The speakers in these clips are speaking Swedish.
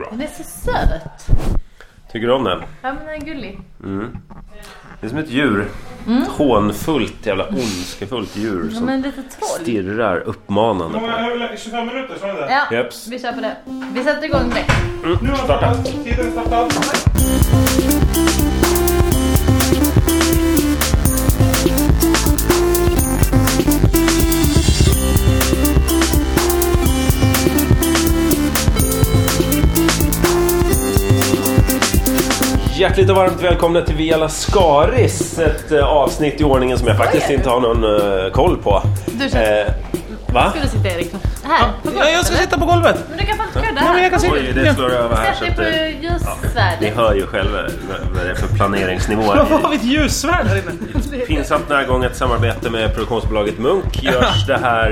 bra. Den är så söt. Tycker du om den? Ja men den är gullig. Det är som ett djur. Ett hånfullt, jävla ondskefullt djur Mm. Ja, som men lite troll. stirrar uppmanande på Hur många- en. hur länge- 25 minuter, sa du det? Ja, Japs. vi kör på det. Vi sätter igång direkt. Mm. Nu har Starta. startat. Tiden startat. Hjärtligt och varmt välkomna till Via Lascaris. Ett eh, avsnitt i ordningen som jag faktiskt Oj. inte har någon eh, koll på. Du känner... Eh, va? Ska du sitta Erik? Här, på golvet? jag ska eller? sitta på golvet. Men du kan fan inte göra det Ja, här. men jag kan sitta- Oj, det slår över här. Sätt Så dig att, på eh, ni ljussvärdet. hör ju själva vad- vad det är för planeringsnivåer. Varför har vi ett ljussvärd här inne? Pinsamt närgånget samarbete med produktionsbolaget Munk görs det här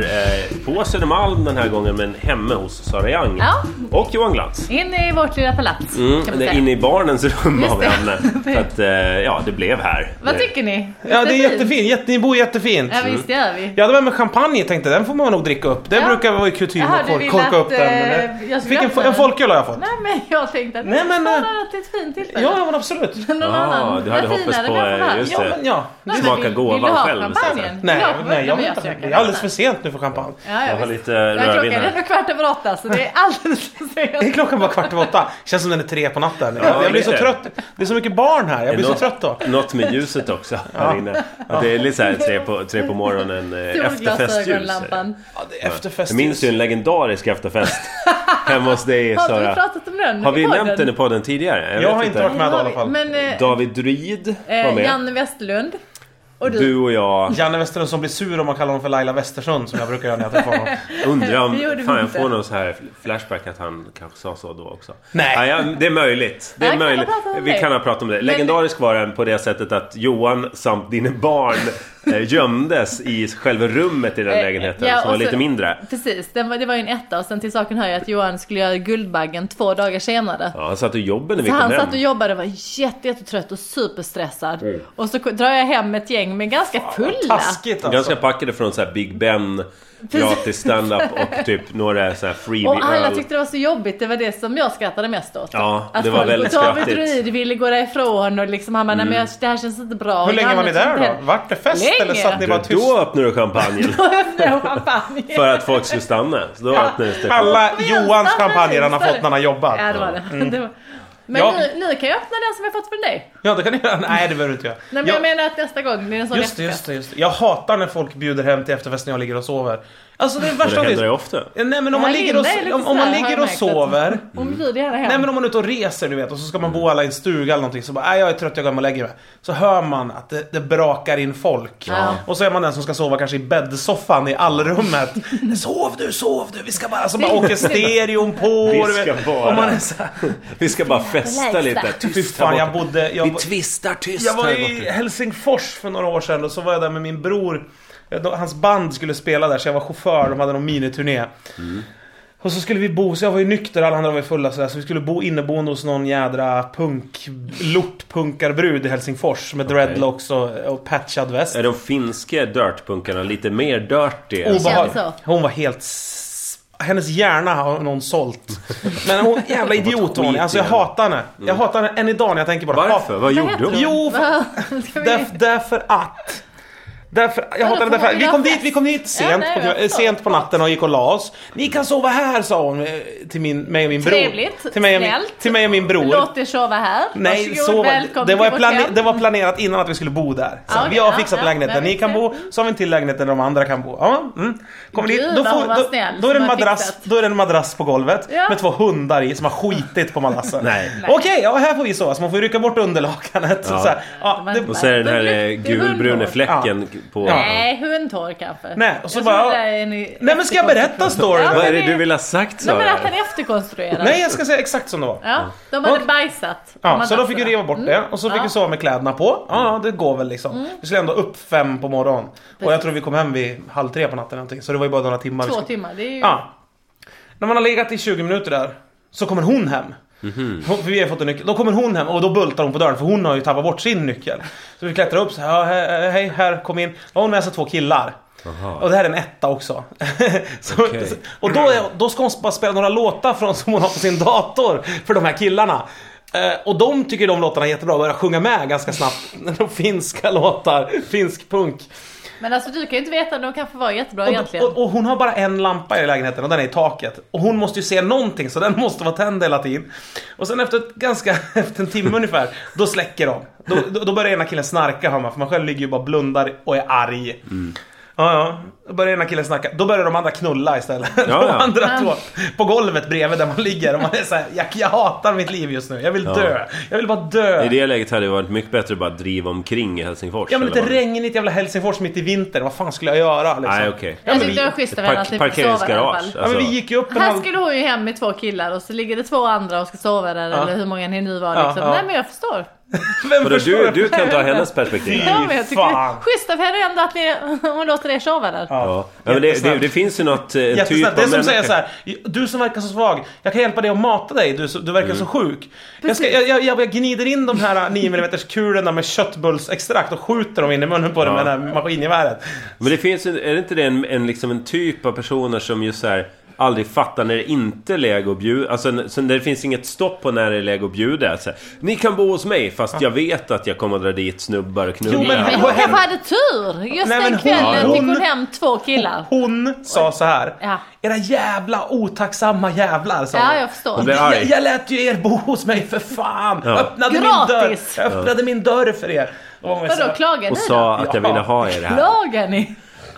eh, på Södermalm den här gången men hemma hos Sara Young Ja. och Johan Glans. In i vårt lilla palats. kan Mm, man det är säga. inne i barnens rum Just har vi det. hamnat. För att, eh, ja, det blev här. Vad Eh, tycker ni? Ja, det är Fint. jättefint. Mm. Jätte, ni bor jättefint. Ja visst det gör vi. Jag hade med mig champagne jag tänkte den får man nog dricka upp. Det Ja. brukar vara kutym Jaha, att du folk ville korka att, upp den. eh, men jag skulle jag fick en, öppna fo- en den. folköl har jag fått. Nej men jag tänkte att Nej, men, eh, snarare till ett fint tillfälle. Ja, ja, men absolut. Någon Ah, annan. du hade Vad hoppats finare på, vi har eh, här. just Ja, det. men ja. men Smaka vi- gåvan vill du ha själv, champagnen? sen. Nej, Ja, nej, jag men vill inte. söker Det är alldeles för nästan. sent nu för champagne. Ja, Jag jag har visst. lite Ja, rödvin klockan är här. för kvart över åtta så det är alldeles för Är sent. klockan bara kvart över åtta? Känns som den är tre på natten. Ja, jag blir så lite. trött. Det är så mycket barn här. Jag blir så Något- trött då. Något med ljuset också här inne. Att det är lite så här tre på, tre på morgonen, eh, efterfestljus. eh, Solglasögonlampan. Ja, det är Jag efterfest. minns ju en legendarisk efterfest hemma hos dig Har inte vi Sara. pratat om den Har vi i podden? nämnt den i podden tidigare? Jag vet har inte varit med i alla fall. Men eh, David Druid var eh, med. Janne Westerlund och du. Du och jag. Janne Westerlund som blir sur om man kallar honom för Laila Westersund som jag brukar göra när jag träffar honom. Undrar om... Det gjorde vi Fan, jag inte. får någon så här flashback att han kanske sa så då också. Nej. Ja, ja, det är möjligt. Det Jag är kan möjligt. ha pratat om Vi det. kan ha pratat om det. Legendarisk var den på det sättet att Johan samt dina barn eh, gömdes i själva rummet i den Eh, lägenheten ja, som var och så- lite mindre. Precis, den var, det var ju en etta och sen till saken hör jag att Johan skulle göra Guldbaggen två dagar senare. Ja, han satt och jobbade när vi Så kom han hem. satt och jobbade och var jätte, jättetrött och superstressad. Mm. Och så drar jag hem ett gäng med ganska fulla. Taskigt alltså. Ganska packade från så här Big Ben, gratis standup och typ några så här Och alla freebie-öl. tyckte det var så jobbigt, det var det som jag skrattade mest åt. Ja, att det var folk- väldigt David skrattigt. Mm. Druid ville gå därifrån och liksom han bara, nej men jag, det här känns inte bra. liksom Hur länge var ni där då? Vart det fest Länge. eller satt ni bara Du, tyst? då öppnade du champagnen Då öppnade jag champagne. för att folk skulle stanna. Så då öppnades det. Alla Vi Johans älskar champagner han har dig. fått när han har Ja, jobbat. det var det. det var... Men Mm. Ja. nu, nu kan jag öppna den som jag fått från dig. Ja det kan ni göra. Nej det behöver du inte göra. Nej, men Ja, jag menar att nästa gång blir det en sån Just det, efterfest. just det, just det. Jag hatar när folk bjuder hem till efterfest när jag ligger och sover. Alltså det är värsta Det händer ju av ofta. det. Nej men om Ja, man ligger och, Linda är lite om, om man sådär, har jag ligger och märkt sover. Hon Mm. bjuder gärna hem. Nej men om man är ute och reser du vet och så ska man bo alla i en stuga eller någonting så bara "Nej, jag är trött jag går hem och lägger mig. Så hör man att det, det brakar in folk. Ja. Och så är man den som ska sova kanske i bäddsoffan i allrummet. sov du, sov du, vi ska bara... Så bara åker stereon på. Vi du vet. ska bara. Och man är så här, Vi ska bara Lägsta. festa lite. Tyst Fy fan här jag borta. bodde... Jag, Vi tvistar tyst jag var här i borta. Helsingfors för några år sedan och så var jag där med min bror. Eh, då- Hans band skulle spela där så jag var chaufför, de hade någon miniturné. Mm. Och så skulle vi bo, så jag var ju nykter, alla andra var ju fulla sådär. Så vi skulle bo inneboende hos någon jädra punk, lortpunkarbrud i Helsingfors. Med dreadlocks och, och patchad väst. Är de finska dirtpunkarna lite mer dirty? än så? Obehag- Obehagligt. känns så. Hon var helt... s- Hennes hjärna har någon sålt. Men hon, jävla idiot var hon. Alltså jag hatar henne. Jag hatar henne än idag när jag tänker på det. Mm. Varför? Vad Vad gjorde heter hon? hon? Jo, för- Vad- ska vi- Därf, därför att... Därför, jag hatar får det därför. vi Vi ha kom fest? dit, vi kom dit sent, Ja, nej, på, jag kvä- eh, förstår. sent på natten och gick och la oss. Ni kan sova här sa hon eh, till min, mig och min bror. Trevligt, till mig och min, snällt. till mig och min bror. Låt er sova här. Nej, Varsågod, så var, välkommen det, var till vårt plane, hem. det var planerat innan att vi skulle bo där. Så Ja, okej, vi har ja, fixat ja, lägenheten, men ni visst kan är bo, så har vi en till lägenhet där de andra kan bo. Ja, mm. Kommer Gud, dit, då, vad får, hon var då, snäll då, är det en som har madrass, fixat. då är det en madrass på golvet Ja. med två hundar i som har skitit på madrassen. Nej. Okej, ja här får vi sova, så man får ju rycka bort underlakanet. Ja. Så, så här, ja, Det var det, inte Och så är den här Det eh, är gulbruna hundhår. fläcken på... Ja. Nej, hundhår kanske. Nej, och så Jag bara- tror det där är en ny- Nej men ska jag berätta storyn? Ja, Vad är men det det- du vill ha sagt Nej men att han Sara? är efterkonstruerad. Nej jag ska säga exakt som det var. Ja, de hade Och- bajsat. på Ja, så då madrasserna. fick vi riva bort det och så fick Mm. Ja. vi sova med kläderna på. Ja, Mm. det går väl liksom. Vi skulle ändå upp fem på morgonen. Och jag tror vi kom hem vid halv tre på natten eller någonting. Så det var ju bara några timmar. vi Två skulle- timmar, det är ju... Ja. När man har legat i 20 minuter där så kommer hon hem. Hon, för vi har fått en nyckel. Då kommer hon hem och då bultar hon på dörren för hon har ju tappat bort sin nyckel. Så vi klättrar upp så här, ja, he- hej här, kom in. Då har hon med sig två killar. Aha. Och det här är en etta också. så, Okej. Och då, är, då ska hon bara spela några låtar från, som hon har på sin dator för de här killarna. Eh, och de tycker de låtarna är jättebra och börjar sjunga med ganska snabbt. De finska låtar, finsk punk. Men alltså du kan ju inte veta, de kanske var jättebra Och, egentligen. och, och hon har bara en lampa i lägenheten och den är i taket. Och hon måste ju se någonting så den måste vara tänd hela tiden. Och sen efter, ett, ganska, efter en timme ungefär, då släcker de. Då, då, då börjar ena killen snarka hör man, för man själv ligger ju bara och blundar och är arg. Mm. Ja, ja. Då börjar ena killen snacka. Då börjar de andra knulla istället. ja. De andra två. På golvet bredvid där man ligger. Och man är så här, jag, jag hatar mitt liv just nu. Jag vill dö. Jag vill bara dö. I det läget hade det varit mycket bättre att bara driva omkring i Helsingfors. Ja men lite eller vad? regnigt jävla Helsingfors mitt i vintern. Vad fan skulle jag göra liksom? Nej, okej. Ja, men Jag tyckte vi- det var schysst av henne att Park- ni fick sova där i alla Parkeringsgarage. fall. Ja, men vi alltså. gick ju upp en Här halv... skulle hon ju hem med två killar och så ligger det två andra och ska sova där eller hur många ni nu var Ja, liksom. ja. Nej men jag förstår. Vem Vadå, förstår du, typ det? du kan ta hennes perspektiv. Ja, men jag fan. tycker schysst av henne ändå att ni, hon låter er sova där. Ja. Ja, men det, det, Jättesnällt. det finns ju något... eh, En typ Jättesnällt. av Det är som att säga människa- så här. du som verkar så svag, jag kan hjälpa dig att mata dig, du, du verkar Mm. så sjuk. Jag, ska, jag, jag, jag gnider in de här 9 mm kulorna med köttbullsextrakt och skjuter dem in i munnen på dig med det här maskingeväret. Men det finns ju- är det inte det en, en, liksom en typ av personer som just så här aldrig fattar när det inte är läge att bjuda, alltså n- så när det finns inget stopp på när det är läge att bjuda. Så här, Ni kan bo hos mig fast jag vet att jag kommer att dra dit snubbar och knullar. Jo, men- Men hon kanske hade tur! Just Nej, men den hon- kvällen fick hon- hon hem två killar. Hon sa så här. Ja. Era jävla otacksamma jävlar sa Ja, hon. jag förstår. Hon blev jag, arg. jag lät ju er bo hos mig för fan! Ja. Jag öppnade Gratis. min dörr! Jag öppnade min dörr för er! Då var man ju så Vadå, här, klagar Och ni då? sa att jag ville ha er här. Klagar ni?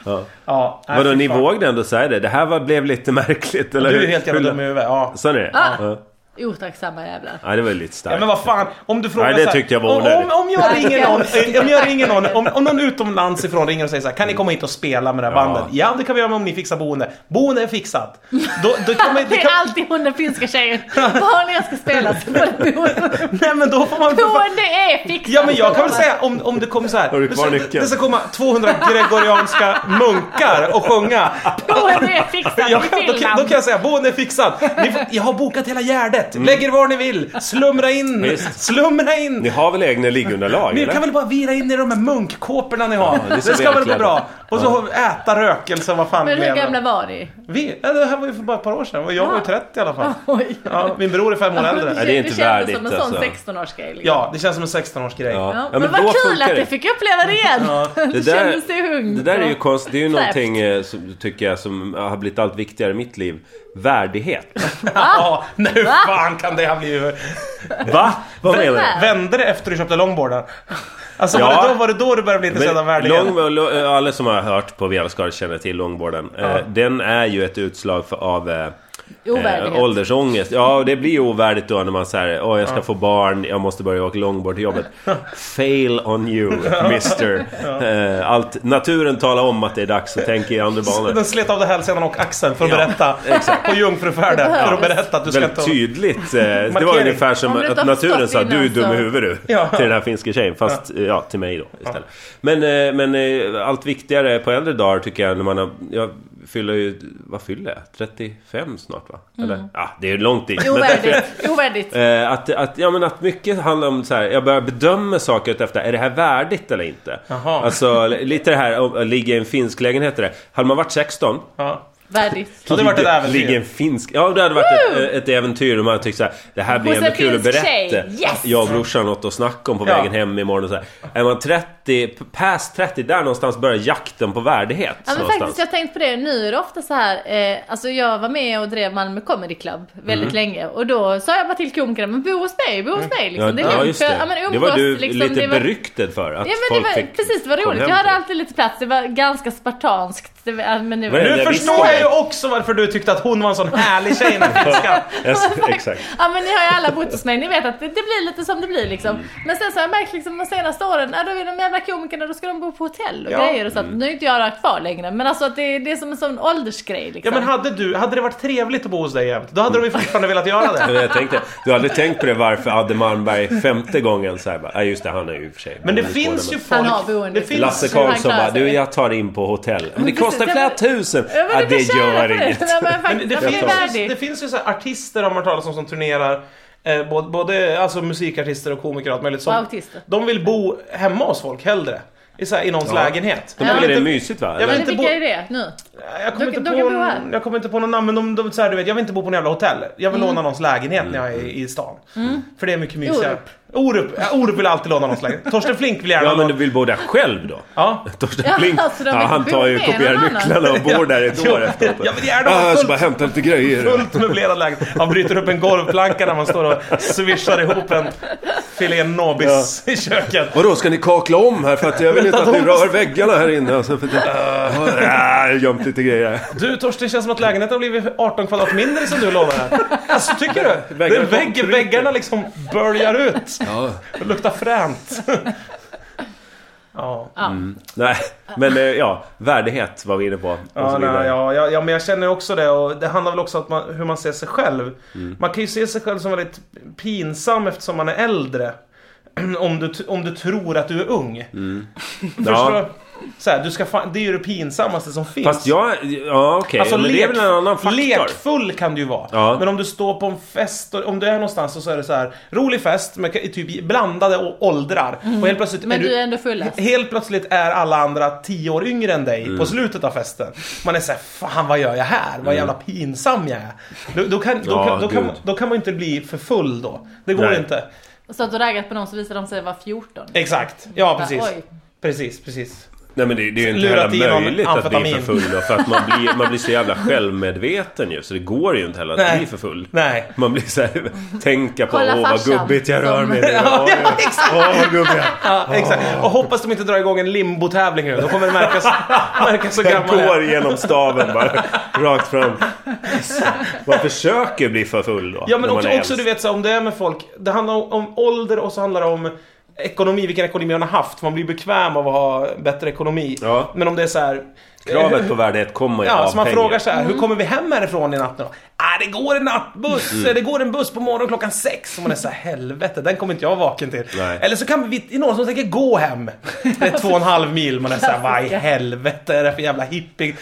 Ja, nej, Vadå, fy ni fan. vågade ändå säga det? Det här var, blev lite märkligt, eller Du är helt jävla dum i huvudet, ja. Så är det? Ah. Ja. Otacksamma jävlar. Ja, det var ju lite starkt. Ja men vad fan, om du frågar Nej, det så här, tyckte jag var om, onödigt. om, om jag Nej, ringer jag någon, tycker- om jag ringer någon, om, om någon utomlands ifrån ringer och säger så här, kan ni komma hit och spela med det här Mm. Ja. bandet? Ja, det kan vi göra om ni fixar boende. Boende är fixat. Då, då kan man, det Det är kan, alltid hon den finska tjejen. Bara när jag ska spela så får det boende. nej men då får man... för fan- Boende är fixat! Ja men jag kan väl säga om, om det kommer så här. Har du det kvar ska- nyckeln? Det ska komma 200 gregorianska munkar och sjunga. Boende är fixat Ja, i då, kan, Finland. då kan jag säga, boende är fixat. Ni, får- jag har bokat hela Gärdet. Lägg er var ni vill. Slumra in. Mm. Visst. Slumra in. Ni har väl egna liggunderlag? Ni eller? kan väl bara vira in i de här munkkåporna ni har? det är det, så ska väl gå välklädda. bra? Och så äta rökelse, vad fan Men hur blev det? gamla var ni? Vi? Ja, det här var ju för bara ett par år sedan. Och Jag var ju 30 i alla fall. Oj. Ja, min bror är fem år äldre. det är inte det kändes som värdigt, en sån alltså. 16-årsgrej. Liksom. Ja, det känns som en 16-årsgrej. Ja. Ja, Ja, men, men då vad kul funkar att det. du fick uppleva det igen! Du kände sig ung. Det där är ju konstigt. Det är ju Fräscht. någonting eh, som, tycker jag som har blivit allt viktigare i mitt liv. Värdighet. Ja, nej, hur Va? fan kan det ha blivit? Va? Vad Vem menar är? du? Vände det efter du köpte longboarden? Alltså Ja. var, det då, var det då du började bli intresserad av Men världen? lång, lo- eh, alla som har hört på Vedaskar känner till långboarden. Eh, den är ju ett utslag för, av eh, Ovärdighet. Eh, åldersångest. Ja, och det blir ju ovärdigt då när man säger åh jag ska få barn, jag måste börja åka långboard till jobbet. Fail on you, mister. Eh, Allt, naturen talar om att det är dags att tänka i andra banor. Den slet av dig hälsenan och axeln för att Ja, berätta. På jungfrufärden. För att berätta att du ska Väldigt ta... tydligt. eh, Det var Markering. ungefär som Om du inte att har förstått naturen sa innan du är dum så- i huvudet du. Ja. Till den här finska tjejen. Fast eh, ja, till mig då istället. Men, eh, men eh, allt viktigare på äldre dagar tycker jag när man har... Jag fyller ju... Vad fyller jag? 35 snart va? Mm. Eller? Ja, det är ju långt dit. men- Ovärdigt. Ovärdigt. Eh, att, att, ja, men att mycket handlar om så här, jag börjar bedöma saker efter, är det här värdigt eller inte? Jaha. Alltså li- lite det här, om- att ligga i en finsk lägenhet eller det. Hade man varit 16, Ja. Värdigt. Ja, det hade varit ett äventyr. Ligga i en finsk... Ja, det hade varit ett, ett äventyr och man tyckte såhär, det här blir Hos ändå en kul att finsk tjej. berätta. Yes! Jag och brorsan har något att snacka om på Ja. vägen hem imorgon och så här. Är man 30, p- past 30, där någonstans börjar jakten på värdighet. Ja men någonstans. faktiskt, jag har tänkt på det. Nu är det ofta så här, eh, alltså jag var med och drev Malmö Comedy Club väldigt Mm. länge och då sa jag bara till komikerna, men bo hos mig, bo hos mig liksom. Ja, är ja, lugnt, just för- det. Ja, men umgås, det var du liksom, lite det var- beryktad för. Att Ja men folk det var, fick precis, det var kom roligt. hem Jag hade till dig. alltid lite plats, det var ganska spartanskt. Det var, ja, men nu Vad är det? Nu Jag visste förstår det. jag ju också varför du tyckte att hon var en sån härlig tjej när fiskar. Ja, exakt. Ja men ni har ju alla bott hos mig, ni vet att det, det blir lite som det blir liksom. Mm. Men sen så har jag märkt liksom de senaste åren, ja, då är de jävla komikerna, då ska de bo på hotell och Ja. Mm. grejer och så. att Nu är inte jag där kvar längre, men alltså att det, det är som en sån åldersgrej Ja liksom. men hade, du, hade det varit trevligt att bo hos dig jämt, då hade de ju Mm. fortfarande velat göra Ja, det. men Jag tänkte, du har aldrig tänkt på det varför Adde Malmberg femte gången så här bara, ja just det han är ju i och för sig Men det boende finns på ju det, folk... Han har boende. Det men- finns, Lasse Han klarar Karlsson bara, sig. du jag tar in på hotell. Men det Precis, alltså kostar ja, flera men- tusen! Ja, men du Ja, det kan tjäna gör på det. inget. Nej, men men det, faktiskt, det, ja, men finns, det är ju- det värdigt. finns ju så här artister har man hört talas om som turnerar. Eh, både, både alltså musikartister och komiker och allt möjligt. Som, Och autister. De vill bo hemma hos folk hellre. i, så här, i någons Ja. lägenhet. De Ja. tycker det är mysigt va? Jag Eller? vill Men inte vilka bo- är det nu? Jag kommer, De- inte de på, kan bo här. jag kommer inte på någon namn, men de, de, så här, du vet, jag vill inte bo på någon jävla hotell. Jag Mm. vill låna någons lägenhet när Mm. jag är i stan. För det är mycket mysigare. Orup. Orup. Ja, Orup vill alltid låna någons lägenhet. Torsten Flink vill gärna Ja men du låna. vill bo där själv då? Ja. Torsten Ja, Flink, alltså, de ja, vill han bo tar ju med kopierar någon annan. nycklarna och bor där ett år efteråt. Jag vill gärna Ah, ha jag ska fullt, bara hämta lite grejer. fullt möblerad lägenhet. Han bryter upp en golvplanka när man står och swishar ihop en filé nobis i köket. Vadå, ska ni kakla om här? För att jag vill inte att ni rör väggarna här inne. Alltså, för att jag Ah, jag har gömt lite grejer här. Du Torsten, det känns som att lägenheten har blivit 18 kvadrat mindre som du lovade. Alltså tycker du? Det är vägg, väggarna liksom böljar ut. Ja. Det luktar fränt. Ja. Nej, men eh, ja, värdighet var vi inne på. Och Ja, så vidare. nej, ja, ja, ja, men jag känner också det och det handlar väl också om att man, hur man ser sig själv. Man kan ju se sig själv som väldigt pinsam eftersom man är äldre. Om du, t- om du tror att du är ung. Förstår Ja. du? Så här, du ska fan, det är ju det pinsammaste som finns. Fast jag, ja okej, Alltså, men det är väl en annan faktor. lekfull kan du ju vara. Ja. Men om du står på en fest, och, om du är någonstans och så är det så här rolig fest med k- typ i blandade å- åldrar. Och helt plötsligt Mm. Men är du är ändå alltså. fullast. Helt plötsligt är alla andra tio år yngre än dig Mm. på slutet av festen. Man är såhär, fan vad gör jag här? Vad jävla pinsam jag är. Då, då, kan, då, Ja, kan, då, kan, gud. man- då kan man inte bli för full då. Det går Nej. inte. Så att du raggat på någon så visade de sig vara 14. Exakt. Ja, precis. Oj. Precis, precis. Nej men det, det är ju inte Lurat i heller någon möjligt att bli amfetamin. för full då, För att man blir, man blir så jävla självmedveten ju. Så det går ju inte heller att Nej. bli för full. Nej. Man blir såhär, tänka på Kolla åh vad farsan gubbigt jag rör som- mig nu. Åh, åh vad gubbig jag är. Ja, exakt. Och hoppas de inte drar igång en limbotävling nu. Då kommer det märkas, märkas så Den gammal jag är. går genom staven bara, rakt fram. Alltså, Man försöker bli för full då. Ja men när man också, är också du äldst. vet så här, om det är med folk, det handlar om, om ålder och så handlar det om ekonomi, vilken ekonomi man har haft. Man blir bekväm av att ha bättre ekonomi. Ja. Men om det är så här. Kravet på värdighet kommer ju Ja, av så man pengar. frågar så här, hur kommer vi hem härifrån i natt då? Ah, det går en nattbuss, Mm. det går en buss på morgonen klockan sex. Och man är så här, helvete, den kommer inte jag vaken till. Nej. Eller så kan vi, det är någon som tänker gå hem. Det är två och en halv mil, man är så här, vad i helvete är det för jävla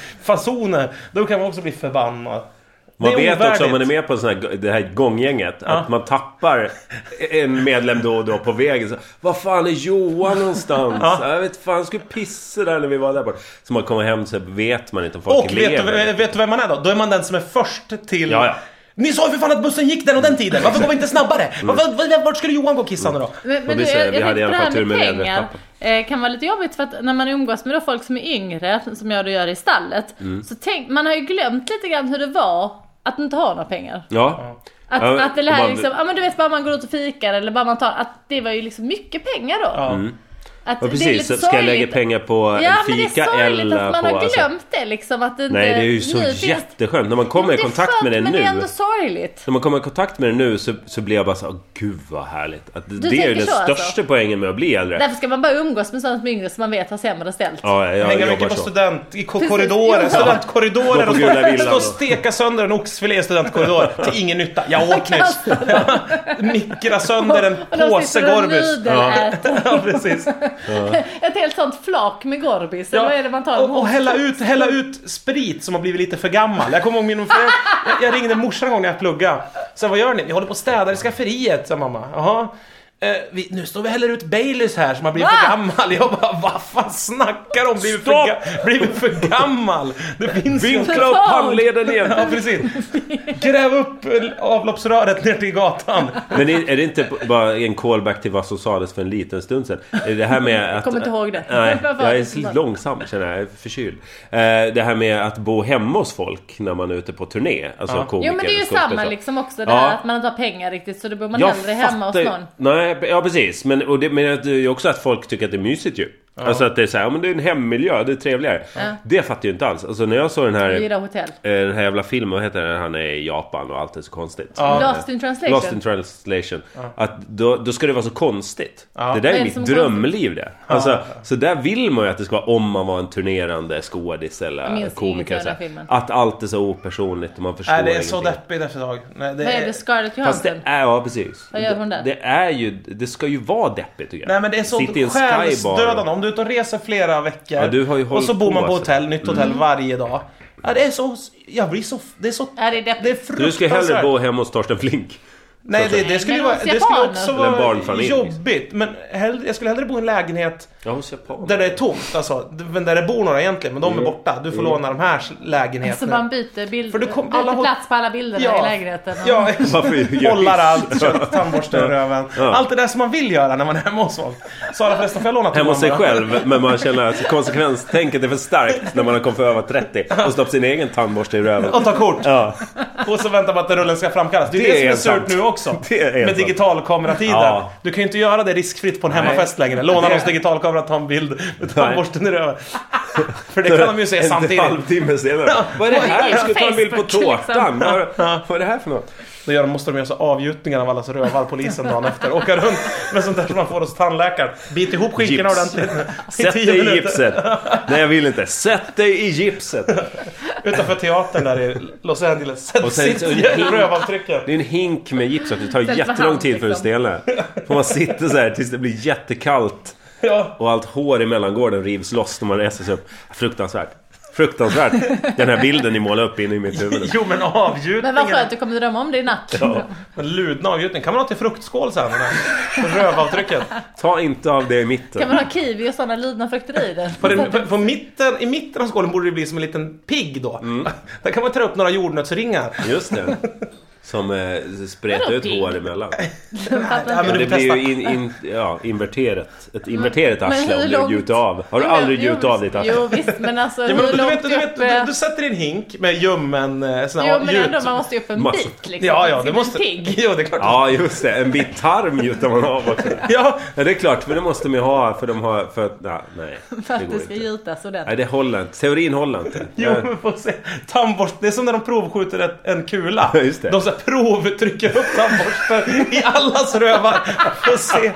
hippiefasoner? Då kan man också bli förbannad. Man Det är vet också om ovärdigt. man är med på sån här, det här gånggänget att man tappar en medlem då och då på vägen. Så, Vad fan är Johan någonstans? Jag vet fan, han skulle pissa där när vi var där borta. Så man kommer hem så vet man inte om folk Och vet lever. du, vet du vem man är då? Då är man den som är först till... Ja, ja. Ni sa ju för fan att bussen gick den och den tiden! Varför går vi inte snabbare? Mm. Varför, var- vart skulle Johan gå och kissa nu då? Men, men vi du, säger, jag, vi jag hade i tänkte på det alla fall här tur med med pengar medvetskapen. eh, kan vara lite jobbigt för att när man umgås med då folk som är yngre, som jag då gör i stallet, Mm. så tänk, man har ju glömt lite grann hur det var att inte ha några pengar. Ja. Att, Ja, att det och här man- liksom, ja men du vet bara man går ut och fikar eller bara man tar, att det var ju liksom mycket pengar då. Ja. Att Mm. Ja, precis. Så ska jag lägga pengar på ja, en men det är fika sorgligt eller att man på... har glömt alltså- det liksom. Att det inte, Nej, det är ju så nu finns- jätteskönt. När man kommer i Det är kontakt med det skönt, Men det är nu. ändå sorgligt. När man kommer i kontakt med det nu så, så blir jag bara så här, "Åh, gud vad härligt. Att det är tänker ju den så, största alltså? poängen med att bli äldre. Därför ska man bara umgås med sådana som är yngre som man vet har sämre ställt. Ja, jag Hänga jobbar mycket på så. student, i ko- Precis, korridorer, ja. Gå studentkorridorer på och Gula stå, Villan stå och då. steka sönder en oxfilé i studentkorridor till ingen nytta. Jag åt nyss. Mikra sönder en Alltså. Och de påse sitter och Gorbis. nudeläter. Ja, precis. Ett helt sånt flak med Gorbis. Eller vad är det man tar? och, och hälla, ut, hälla ut sprit som har blivit lite för gammal. Jag kommer ihåg min fru, jag, jag ringde morsan en gång när jag pluggade. Så vad gör ni? Vi håller på och städar i skafferiet, sa mamma. Jaha. Eh, vi, nu står vi och häller ut Baileys här som har blivit för Va? gammal. Jag bara, vad fan snackar de om? Blivit för, Stopp! ga- blivit för gammal? Det finns ju Vinkla upp handleden igen! Ja, precis. Gräv upp eh, avloppsröret ner till gatan. Men är, är det inte bara en callback till vad som sades för en liten stund sedan? Är Det här med att... kommer inte ihåg det. Nej, Vad var jag är det så som var? långsam känner jag. Jag är förkyld. Eh, Det här med att bo hemma hos folk när man är ute på turné. Alltså Ja. komiker Jo men det är ju och skådespelare. samma liksom också. Det Ja. här att man inte har pengar riktigt så då bor man hellre hemma hos fattar ju- någon. Nej, ja precis. Men, och det, men det är ju också att folk tycker att det är mysigt ju. Alltså att det är så här, ja, men det är en hemmiljö, det är trevligare. Det fattar jag ju inte alls. Alltså när jag såg den här... Hyra hotell. Eh, Den här jävla filmen, vad heter den? Han är i Japan och allt är så konstigt. Lost in translation. Lost in translation. Att då, då ska det vara så konstigt. Ja. Det där Vad är är det mitt som är drömliv det. Alltså, Så där vill man ju att det ska vara om man var en turnerande skådis Jag eller minns komiker. inget Så av den här, filmen. att allt är så opersonligt och man förstår Nej, det är så ingenting. deppigt efter ett tag. Nej, det Vad är är- det? Scarlett Fast Johansson? det är, ja precis. Vad gör hon där? Det är ju, det ska ju vara deppigt tycker jag. Nej men det är så Sitta i en skybar själsdödande. och- Om du är ute och reser flera veckor Ja, du har ju och så hållit bor man på, på alltså. hotell, nytt hotell varje dag. Ja, det är så... Jag blir så... Det är så... Ja, det är deppigt. Det är Du fruktansvärt. ska hellre bo hemma hos Torsten Flink. Nej, det, Såklart. det skulle, ju men vara, hos det skulle japaner. också Eller en vara barnfamilj, liksom. jobbigt. Men hell, jag skulle hellre bo i en lägenhet Ja, hos japaner. där det är tomt. Alltså, men där det bor några egentligen, men de Mm. är borta. Du får låna de här Så lägenheterna. Alltså, man byter, bild, För du kom- byter alla håll- plats på alla bilderna Ja. i lägenheten. Och- Ja, Varför gör vi- hållar allt, kör tandborsten i röven. Ja. Allt det där som man vill göra när man är hemma hos folk. Sara förresten, får jag låna Hemma hos sig tomman bara? själv, men man känner att konsekvenstänket är för starkt när man har kommit för över 30 och stoppat sin egen tandborste i röven. Och ta kort. Ja, Och så väntar man att rullen ska framkallas. Det är det, Det är som är surt sant. nu också. Det är Med sant. digitalkameratiden. Ja. Du kan ju inte göra det riskfritt på en hemmafest längre. Låna Det- någons digitalkamera, ta en bild med tandborsten i röven. För det kan de ju se En samtidigt. halvtimme senare. Vad är det här? Jag ska ta en bild på Facebook, tårtan. liksom. Vad vad är det här för något? Då gör, måste de göra så avgjutningar av allas rövar, polisen, dagen efter. Åka runt med sånt där som man får hos tandläkaren. Bit ihop skinkorna Gips. ordentligt. Sätt tio dig i minuter. gipset. Nej, jag vill inte. Sätt dig i gipset. Utanför teatern där i Los Angeles. Sätt Och och sen- sitt och- rövavtrycken. Det är en hink med gips också. Det tar Sätt på jättelång hand, tid för liksom. att stelna. Får man sitter så här tills det blir jättekallt. Ja. Och allt hår i mellangården rivs loss när man reser sig upp. Fruktansvärt. Fruktansvärt. Den här bilden ni målar upp inne i mitt huvud. Jo men avgjutningen. Men vad skönt, du kommer drömma om det i natt. Ja. Den ludna avgjutningen. Kan man ha till fruktskål sen? den här Rövavtrycket. Ta inte av det i mitten. Kan man ha kiwi och sådana lidna frukter i den? På den, på, på mitten, I mitten av skålen borde det bli som en liten pigg då. Mm. Där kan man ta upp några jordnötsringar. Just det. Som eh, spretar Vadå ut hår pigg? emellan. Ja, Men men du det får blir testa. ju in, in, ja, inverterat. Ett inverterat Men arsle hur om du långt- gjuter av. Har du Jo, men- aldrig gjutit jo, av ditt arsle? Jo visst, men alltså Ja, men hur du, vet, långt du, upp... vet, du, du sätter i en hink med ljummen eh, sån här jo men ändå, avgjut. man måste ju upp en Massa- bit liksom. Ja, ja, Man det ska måste... bli Pigg. Jo, det är klart. Ja, just det. En bit tarm gjuter man av också. Ja, Ja, det är klart. För det måste man ju ha. För de har... För att... Nej, nej För det att det går ska inte. gjutas Nej, ordentligt. det håller inte. Teorin håller inte. Jo, Jag- men får se. Tandborst, det är som när de provskjuter ett, en kula. Ja, just det. De så här provtrycker upp tandborsten i allas rövar. Får se.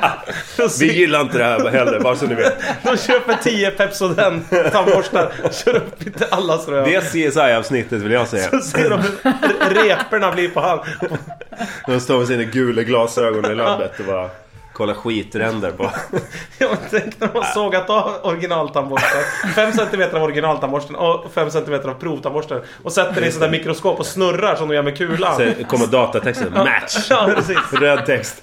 Får Vi se. gillar inte det här heller, bara så ni vet. De köper 10 Pepsodent tandborstar och kör upp i allas rövar. Det CSI-avsnittet vill jag säga. Så ser de hur reporna blir på hand. De står med sina gula glasögon i landet och bara kollar skitränder på. Jag tänkte när man sågat av originaltandborsten. 5 cm av originaltandborsten och 5 cm av provtandborsten. Och sätter det i sådär mikroskop och snurrar som de gör med kulan. Sen kommer datatexten. Match! Ja, precis. Röd text.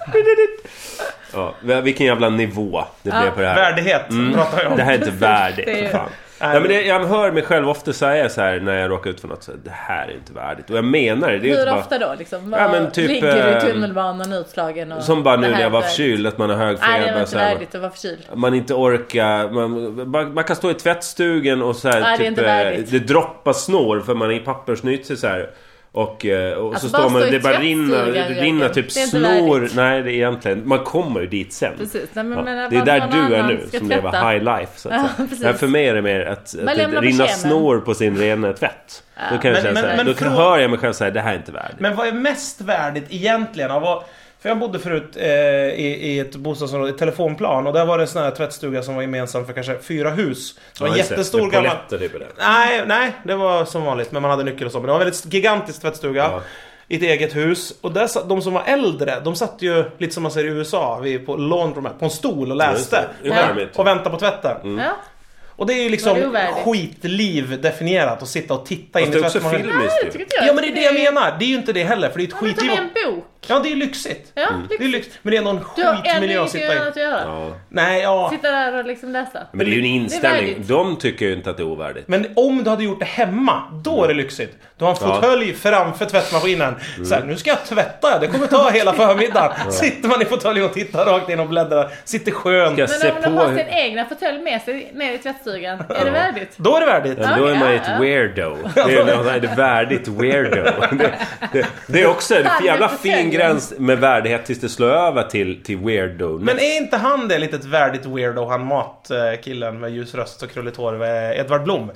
Ja, vilken jävla nivå det blev på det här. Värdighet Mm. pratar jag om. Det här är inte värdigt Det är- för fan. Ja, men det, jag hör mig själv ofta säga så här när jag råkar ut för något. Så här, det här är inte värdigt. Och jag menar det. det är Hur inte bara, ofta då liksom? Ja, men Vad- typ, Ligger du i ehm, tunnelbanan utslagen och... som bara nu Det här när jag var är- förkyld, att man har hög Nej, det feber. var och så inte här. värdigt att vara förkyld. Man inte orkar. Man, man, man kan stå i tvättstugan och så här, Nej, det är typ, inte det, värdigt. det droppar snår för man är i pappersnytsig så här. Och, eh, och Alltså, så står bara man stå i det bara rinner, tvättstugan, det rinner Jörgen. typ Det är inte snor. värdigt. Nej, det är egentligen... Man kommer ju dit sen. Precis. Nej, men, Ja, men, det är vad där någon du är annan nu ska som lever tvätta. high life. Så att Ja, säga. precis. Men för mig är det mer att, att det lämnar på rinner kemen. snor på sin rena tvätt. Då kan jag Men- känna men- så här, men då fråga- hör jag mig själv säga det här är inte värdigt. Men vad är mest värdigt egentligen? Av vad, för jag bodde förut eh, i, i ett bostadsområde, i telefonplan. Och där var det en sån här tvättstuga som var gemensam för kanske fyra hus. Det var en Ja, just det. jättestor Med gammal... poletter typ i det. Nej, nej, det var som vanligt. Men man hade nyckel och så. Men det var en väldigt gigantisk tvättstuga. Ja. I ett eget hus. Och där satt, de som var äldre, de satt ju lite som man ser i USA, vid, på laundromat, på en stol och läste. det. Det Och, är Mm. vänt- charmigt. och väntade på tvätten. Ja. Och det är ju liksom Var det ovärdigt? skitliv definierat, att sitta och titta Fast in det i är också tvättmaskinen. filmiskt Det ju. tycker inte jag. Ja men det är det jag menar, det är ju inte det heller för det är ett Ja, men ta skitliv. med en bok. Ja det är lyxigt. Ja, Mm. Det är lyx. lyxigt. Men det är någon Du har ännu skitmiljö att ingenting sitta i. annat att göra. Ja. Nej ja. Sitta där och liksom läsa. Men det är ju en Det är inställning. värdigt. De tycker ju inte att det är ovärdigt. Men om du hade gjort det hemma, då är det lyxigt. Du har en Mm. Ja. Mm. fåtölj framför tvättmaskinen. Så här, nu ska jag tvätta, det kommer ta hela förmiddagen. Sitter man i fåtöljen och tittar rakt in och bläddrar, sitter skönt. Ska jag se Men om de på... har sin egna fåtölj med sig ner i tvättstugan, är det värdigt? Då är det värdigt. Men då är man ju ett Ja. weirdo. Det är, nej, det är värdigt weirdo. Det, det, det är också en jävla fin gräns med värdighet tills det slår över till, till weirdo. Men är inte han det litet värdigt weirdo, han matkillen med ljus röst och krulligt hår, eh, Edvard Blom?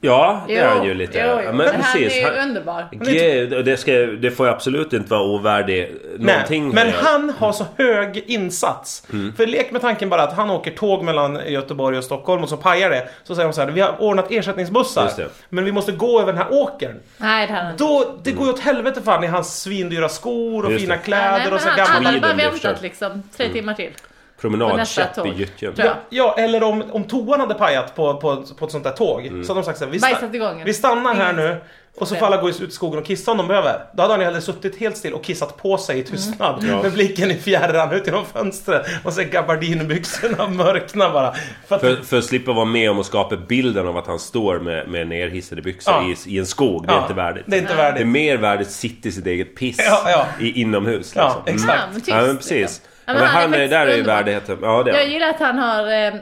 Ja, det är han ju lite. Jo, jo. Ja, Men, han är ju Han- underbar. Gud, och det, ska, det får ju absolut inte vara ovärdig någonting. Mm. Nej, men här. han har så hög insats. Mm. För lek med tanken bara att han åker tåg mellan Göteborg och Stockholm och så pajar det. Så säger de så här, vi har ordnat ersättningsbussar. Just det. Men vi måste gå över den här åkern. Nej, det hade han inte. Då, det går ju åt helvete fan i hans svindyra skor och Just fina det. Nej, kläder men och så han- Han gamla... hade bara Sweden, i och för sig. väntat Mm. liksom tre timmar till. på nästa Promenadkäpp i tåg. gyttjan. Tror jag. Ja, eller Mm. om, om toan hade pajat på, på, på ett sånt där tåg. Så hade de sagt så här, vi, sta- Bajsat i gången. vi stannar här nu. Och så får alla gå ut i skogen och kissa om de behöver. Då hade han ju hellre suttit helt still och kissat på sig i Mm. tystnad. Ja. Med blicken i fjärran ut genom fönstret. Och sen gabardinbyxorna mörkna bara. För att, För, för att slippa vara med om att skapa bilden av att han står med, med nerhissade byxor Ja. i, i en skog. Det är Ja, inte värdigt. Det är inte värdigt. Det är mer värdigt att sitta i sitt eget piss Ja, ja. I, inomhus. Ja, Liksom. exakt. Ja, men tyst, Ja, men liksom. precis. Ja, Ja, men han är, faktiskt där är ju underbar. värdigheten. Ja, det är Jag han. gillar att han har... eh,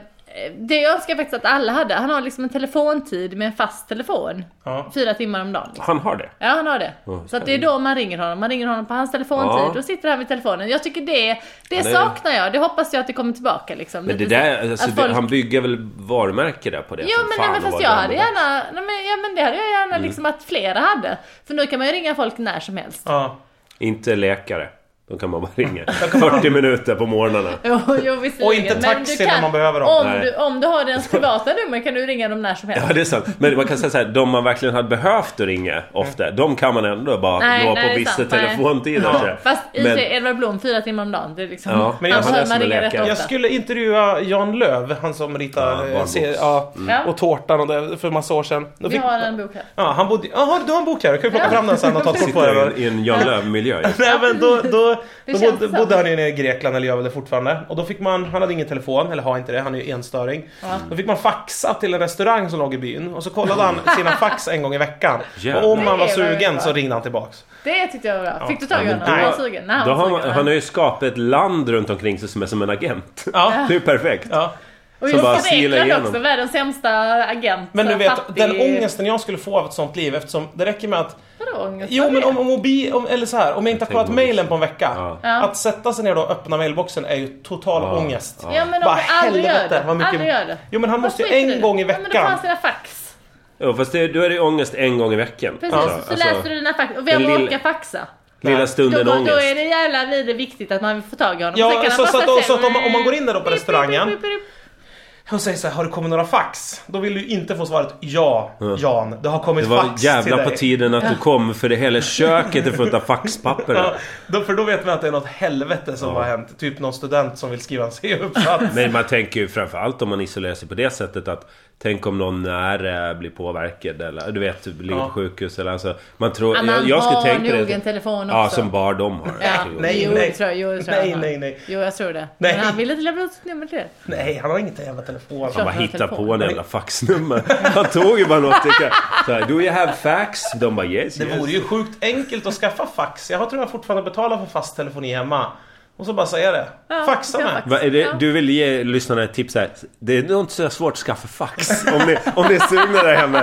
Det jag önskar faktiskt att alla hade. Han har liksom en telefontid med en fast telefon. Ja. Fyra timmar om dagen. liksom. Han har det. Ja, han har det. Ja, Så att det är då man ringer honom. Man ringer honom på hans telefontid Ja. och sitter han vid telefonen. Jag tycker det, det är- saknar jag. Det hoppas jag att det kommer tillbaka liksom. Men det Lite så- där, alltså, att folk- det, han bygger väl varumärke där på det? Mm. Jo som men, fan nej, men och fast jag vad gammal hade och- gärna, nej, men, ja, men det hade jag gärna liksom att flera hade. För nu kan man ju ringa folk när som helst. Ja. Inte läkare. De kan man bara ringa. 40 minuter på morgnarna. Jo, jo, visserligen. Och inte Men taxi du när man behöver dem. Om Nej. du, om du har deras privata nummer kan du ringa dem när som helst. Ja, det är sant. Men man kan säga så här, de man verkligen hade behövt att ringa ofta, de kan man ändå bara Mm. Nej, nå nej, det på är vissa sant. Nej. telefontider. så här. Fast i Men- sig, Edvard Blom fyra timmar om dagen. Det är liksom, Ja, men han jag- han behöver läser man med ringa rätt läkaren. ofta. Jag skulle intervjua Jan Löv, han som ritade Ja, Mm. eh, se- ja, Ja. och Tårtan och det, för massa år sedan. Då Vi fick, har en bok här. ja, han bodde, jaha, du har en bok här, då kan vi plocka fram den sen och ta ett kort på Sitter i den. en, i en Jan Lööf-miljö. ju. Nej men då, då, då känns bodde, så. bodde han ju nere i Grekland, eller gör väl det fortfarande. Och då fick man, han hade ingen telefon, eller har inte det, han är ju enstöring. Då fick man faxa till en restaurang som låg i byn. Och så kollade han sina fax en gång i veckan. Jävlar. Och om han var Det var ju sugen bra. så ringde han tillbaks. Det tyckte jag var bra. Fick du tag i Ja, men honom? Var då- han sugen? Nej, han Då var har man, sugen. han har ju skapat ett land runt omkring sig som är som en agent. Ja. Det är ju perfekt. ja. Och som just bara Grekland silar igenom. också, världens sämsta agent. Men du så vet, fattig. den ångesten jag skulle få av ett sånt liv eftersom det räcker med att Vadå ångest? Jo Vad men är om, om mobil, om, eller så här, om jag inte har kollat tänker på mailen på en vecka. Ja. Ja. Att sätta sig ner då och öppna mailboxen är ju total ångest. det? Ja men om vi aldrig gör det. Aldrig gör det. Jo men han Vad måste ju skiter en du? gång i Ja, men då får veckan. han sina fax. Ja, fast det, då är det ju ångest en gång i veckan. Precis, Alltså, så alltså, läser du dina fax. Och den vem lilla- orkar faxa? Lilla Då, stunden då ångest. är det jävla vidare viktigt att man får tag i honom. Ja, Sen kan han så- bara så säga, att- så att om man- om man "Nej, går in där då på pip, pip, restaurangen." pip, pip, pip." Hon säger så här, har det kommit några fax? Då vill du ju inte få svaret ja, Jan. Det har kommit Det var fax till jävla dig. på tiden att du kom för det hela köket är fullt av faxpapper. Ja, då, för då vet man att det är något helvete som har hänt. Typ någon student som vill skriva en C-uppsats. Men man tänker ju framförallt om man isolerar sig på det sättet att Tänk om någon nära blir påverkad eller du vet, typ ligger Ja. på sjukhus eller alltså Man tror... Ja, men jag, han jag skulle har tänka nog det. en telefon Ja, också. som bara de har. Ja, Nej, jo, nej. Det tror jag, jo, det tror jag Nej, han har. nej, nej. Jo, jag tror det. Nej. Men han ville inte lämna ut sitt nummer till er. Nej, han har inget jävla telefon. Han Klart. bara han har hittade telefon. på en jävla faxnummer. Han tog ju bara något. tycker jag. Så här, Do you have fax? De bara yes, Det yes. vore ju sjukt enkelt att skaffa fax. Jag tror jag fortfarande betalar för fast telefoni hemma. Och så bara säga det. Ja, Faxa jag mig. faxar. Va, är det, Ja. du vill ge lyssnarna ett tips här. Det är nog inte så svårt att skaffa fax. Om ni, om ni är sugna där hemma.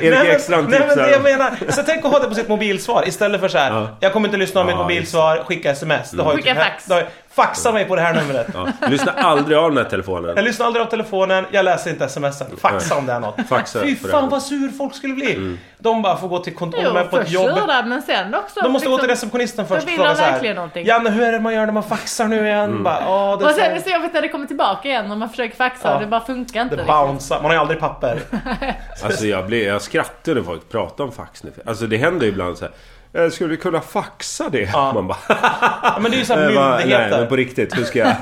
Erik men- Ekstrand typ nej, men det jag tipsar. om- menar. Så tänk att ha det på sitt mobilsvar istället för så här. Ja. Jag kommer inte lyssna om mitt Ja, mobilsvar, skicka sms. Det har ju Skicka typ- fax. det har ju- faxa mig på det här numret. Ja, lyssna aldrig av den här telefonen. Jag lyssnar aldrig av telefonen, jag läser inte sms. Faxa om det är något. Faxa Fy för fan övrigt. Mm. vad sur folk skulle bli. De bara får gå till kontoret Jo, med på ett först jobb. lördag men sen också. De måste gå till liksom. receptionisten först och vill fråga de så verkligen här. någonting. Janne hur är det man gör när man faxar nu igen? Mm. Bara, ja, det är Och så sen är här- det så jobbigt när det kommer tillbaka igen och man försöker faxa Ja. och det bara funkar inte. det liksom. bouncear. Man har ju aldrig papper. Alltså jag, blir, jag skrattar när folk pratar om fax nu. Alltså det händer ju ibland så här. "Eh, Skulle du kunna faxa det? Ja. Man bara... Ja, men det är ju så här "Eh, va, nej, myndigheter. men på riktigt. Hur ska jag...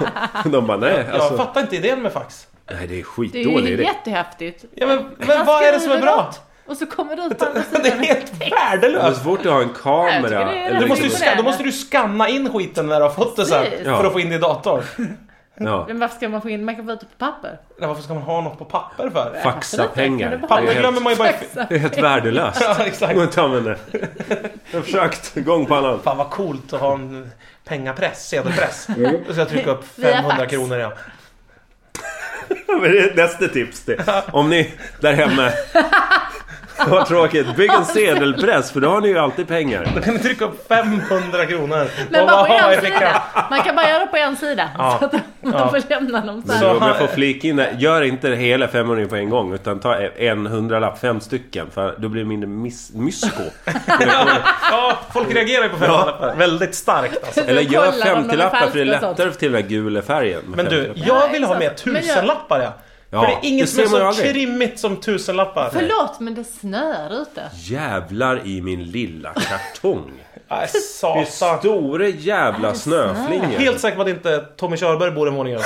De bara, nej. Jag Alltså, fattar inte idén med fax. nej, det är Det är skitdålig ju idé. jättehäftigt. Ja, men, Han men vad är det som är skriver bra? något, Och så kommer det ut på andra Det är sidan. helt Men värdelöst. så fort du har en Jag tycker kamera... det är eller Du måste, ju liksom- ska, då måste du skanna in skiten när du har fått det sen Precis. Ja. för att få in det i datorn. ja, Men varför ska man få in, man kan få ut det på papper. Nej, varför ska man ha något på papper för? faxa pengar. Det är Papper helt- glömmer man ju bara i- Det är helt värdelöst. Ja, exakt. Går inte att använda. Jag har försökt gång på annan. Fan vad coolt att ha en pengapress, sedelpress. Mm. Då ska jag trycka upp Via 500 fax. kronor ja. Men det är Nästa tips det. Om ni där hemma... Vad tråkigt. Bygg en sedelpress för då har ni ju alltid pengar. Då kan du trycka upp 500 kronor. Men Och bara på ha i en fickan. sida. Man kan bara göra det på en sida. Ja. Så att man Ja. får lämna dem så Men här. om jag får flika in där, gör inte hela 500 på en gång utan ta en hundralapp, fem stycken. För då blir det mindre mis- mysko. Ja, Mm. folk reagerar ju på 500 lappar. Väldigt starkt alltså. Eller Så gör kollar de om de är 50-lappar för det är falska och sånt. lättare till den här gula färgen. med Men du, 50-lappar. jag vill ha med exakt. Men jag- tusenlappar ja. Ja, För det är det inget som ser är man ju så aldrig. krimmigt som tusenlappar. Förlåt men det snöar ute. Jävlar i min lilla kartong. Nej, Det är satan. stora jävla Alltså, snöflingor. Helt säker på att inte Tommy Körberg bor en våning över.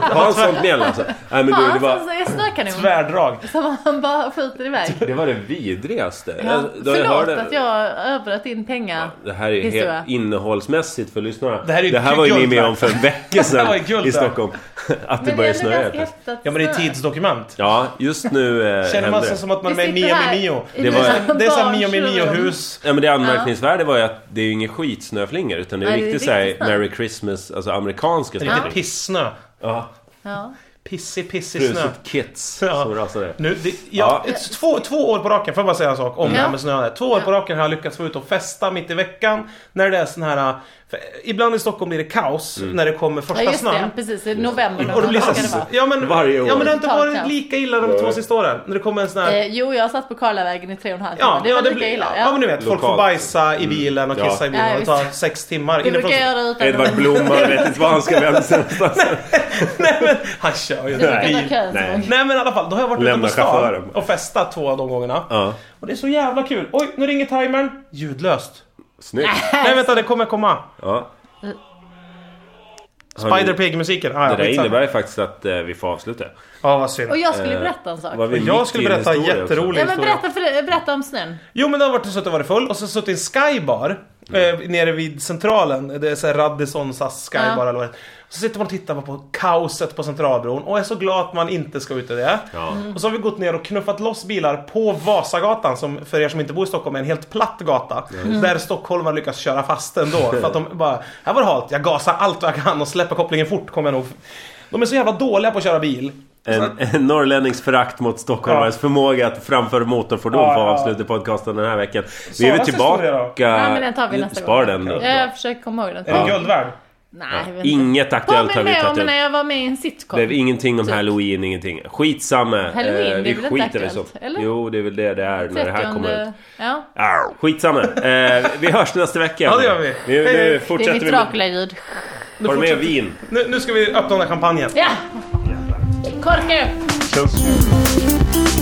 Har han sånt gnäll alltså? Nej men du, det Ja, var, alltså, jag snökanon. Tvärdrag. Som han bara skjuter iväg. det var det vidrigaste. Ja. Jag- då jag Förlåt hörde- att jag överbröt din pengar. Det här är Historia. helt innehållsmässigt för lyssnarna. Det här är ju var ju ni guld med värt. om för en vecka Det var sedan ju guld i värt. Stockholm. Att det började snöa helt plötsligt. häftigt. Ja men det är tidsdokument. Ja, just nu eh, Känner händer man det. sig som att man är Vi med i Mio sitter här i Det med Mio? var- våra Det är som Mio med barns Mio rum. hus. Ja, men det anmärkningsvärda var ju att det är ju inget skitsnöflingor utan det är Nej, det är riktigt såhär riktigt snö. Merry Christmas, alltså amerikanska En riktig snöflingor. pissnö. Ja, Ja. Pissig, pissig snö. fruset kids Ja. som rasade. Nu, det, ja, Ja. ett- Två, två år på raken, får jag bara säga en sak om det här Ja. med snö. Två år på raken har jag lyckats vara ute och festa mitt i veckan. När det är sån här... För ibland i Stockholm blir det kaos Mm. när det kommer första ja, just snön. det. Precis. I november. Och det någon blir gång så ska det vara. ja, men, Varje år. Ja men det har inte Totalt varit kaos. lika illa de två sista åren. När det kommer en sån här... Eh, jo, jag satt på Karlavägen i tre och en halv Ja, timme. Det var ja, det lika blir, illa. ja. men du vet, folk får Lokalt. Mm. bajsa i bilen och Ja. kissa i bilen. Ja, och det visst. tar sex timmar. Det brukar Inifrån- jag göra utan Edvard Blom, man vet inte var han ska vända sig någonstans. Nej men han kör ju inte Nej. bil. Nej. Nej men i alla fall, då har jag varit ute Lämna på stan chauffören. och festat två av de gångerna. Ja, Och det är så jävla kul. Oj, nu ringer timern. Ljudlöst. snyggt. Nej vänta, det kommer komma. Ja. Har ni- Spider Pig-musiken. Ah, Det där skitsamma. innebär ju faktiskt att eh, vi får avsluta. Ja, vad synd. Och jag skulle Eh, berätta en sak. Var vi mitt Jag i skulle en berätta en historia också? jätterolig Ja, men historia. berätta, för, berätta om snön. Jo men det har varit suttit och varit full och så suttit i en skybar eh, nere vid centralen. Det är såhär Radisson SAS skybar Ja. eller vad det är. Så sitter man och tittar på kaoset på Centralbron och är så glad att man inte ska ut i det. Mm. Ja. Och så har vi gått ner och knuffat loss bilar på Vasagatan som för er som inte bor i Stockholm är en helt platt gata. Där stockholmare lyckas köra fast ändå. För att de bara, här var det halt, jag gasar allt vad jag kan och släpper kopplingen fort kommer jag nog. De är så jävla dåliga på att köra bil. En, en norrlännings förakt mot stockholmares Ja. förmåga att framföra motorfordon Ja, får ja. avsluta podcasten den här veckan. Vi är väl Saras historia då? tillbaka... Nej, men den tar vi nästa Spar gång. den. då. Jag försöker komma ihåg den. Är den guld värd? Nej, jag vet inte. Inget aktuellt har Påminn vi mig tagit om upp. när jag var med i en Det är sitcom. ingenting om halloween, ingenting. Skitsamma. Halloween, Eh, det är vi väl inte skiter i aktuellt, sånt. eller? Jo, det är väl det det är när det här kommer ut. 30 Ja. Arr, skitsamma. Eh, vi hörs nästa vecka. Ja, det gör vi. Nu, Hej, nu hej. Det är fortsätter mitt vi med... Dracula-ljud. Har du med vin? Nu, nu ska vi öppna den här champagnen. Ja! Korka upp! Känns-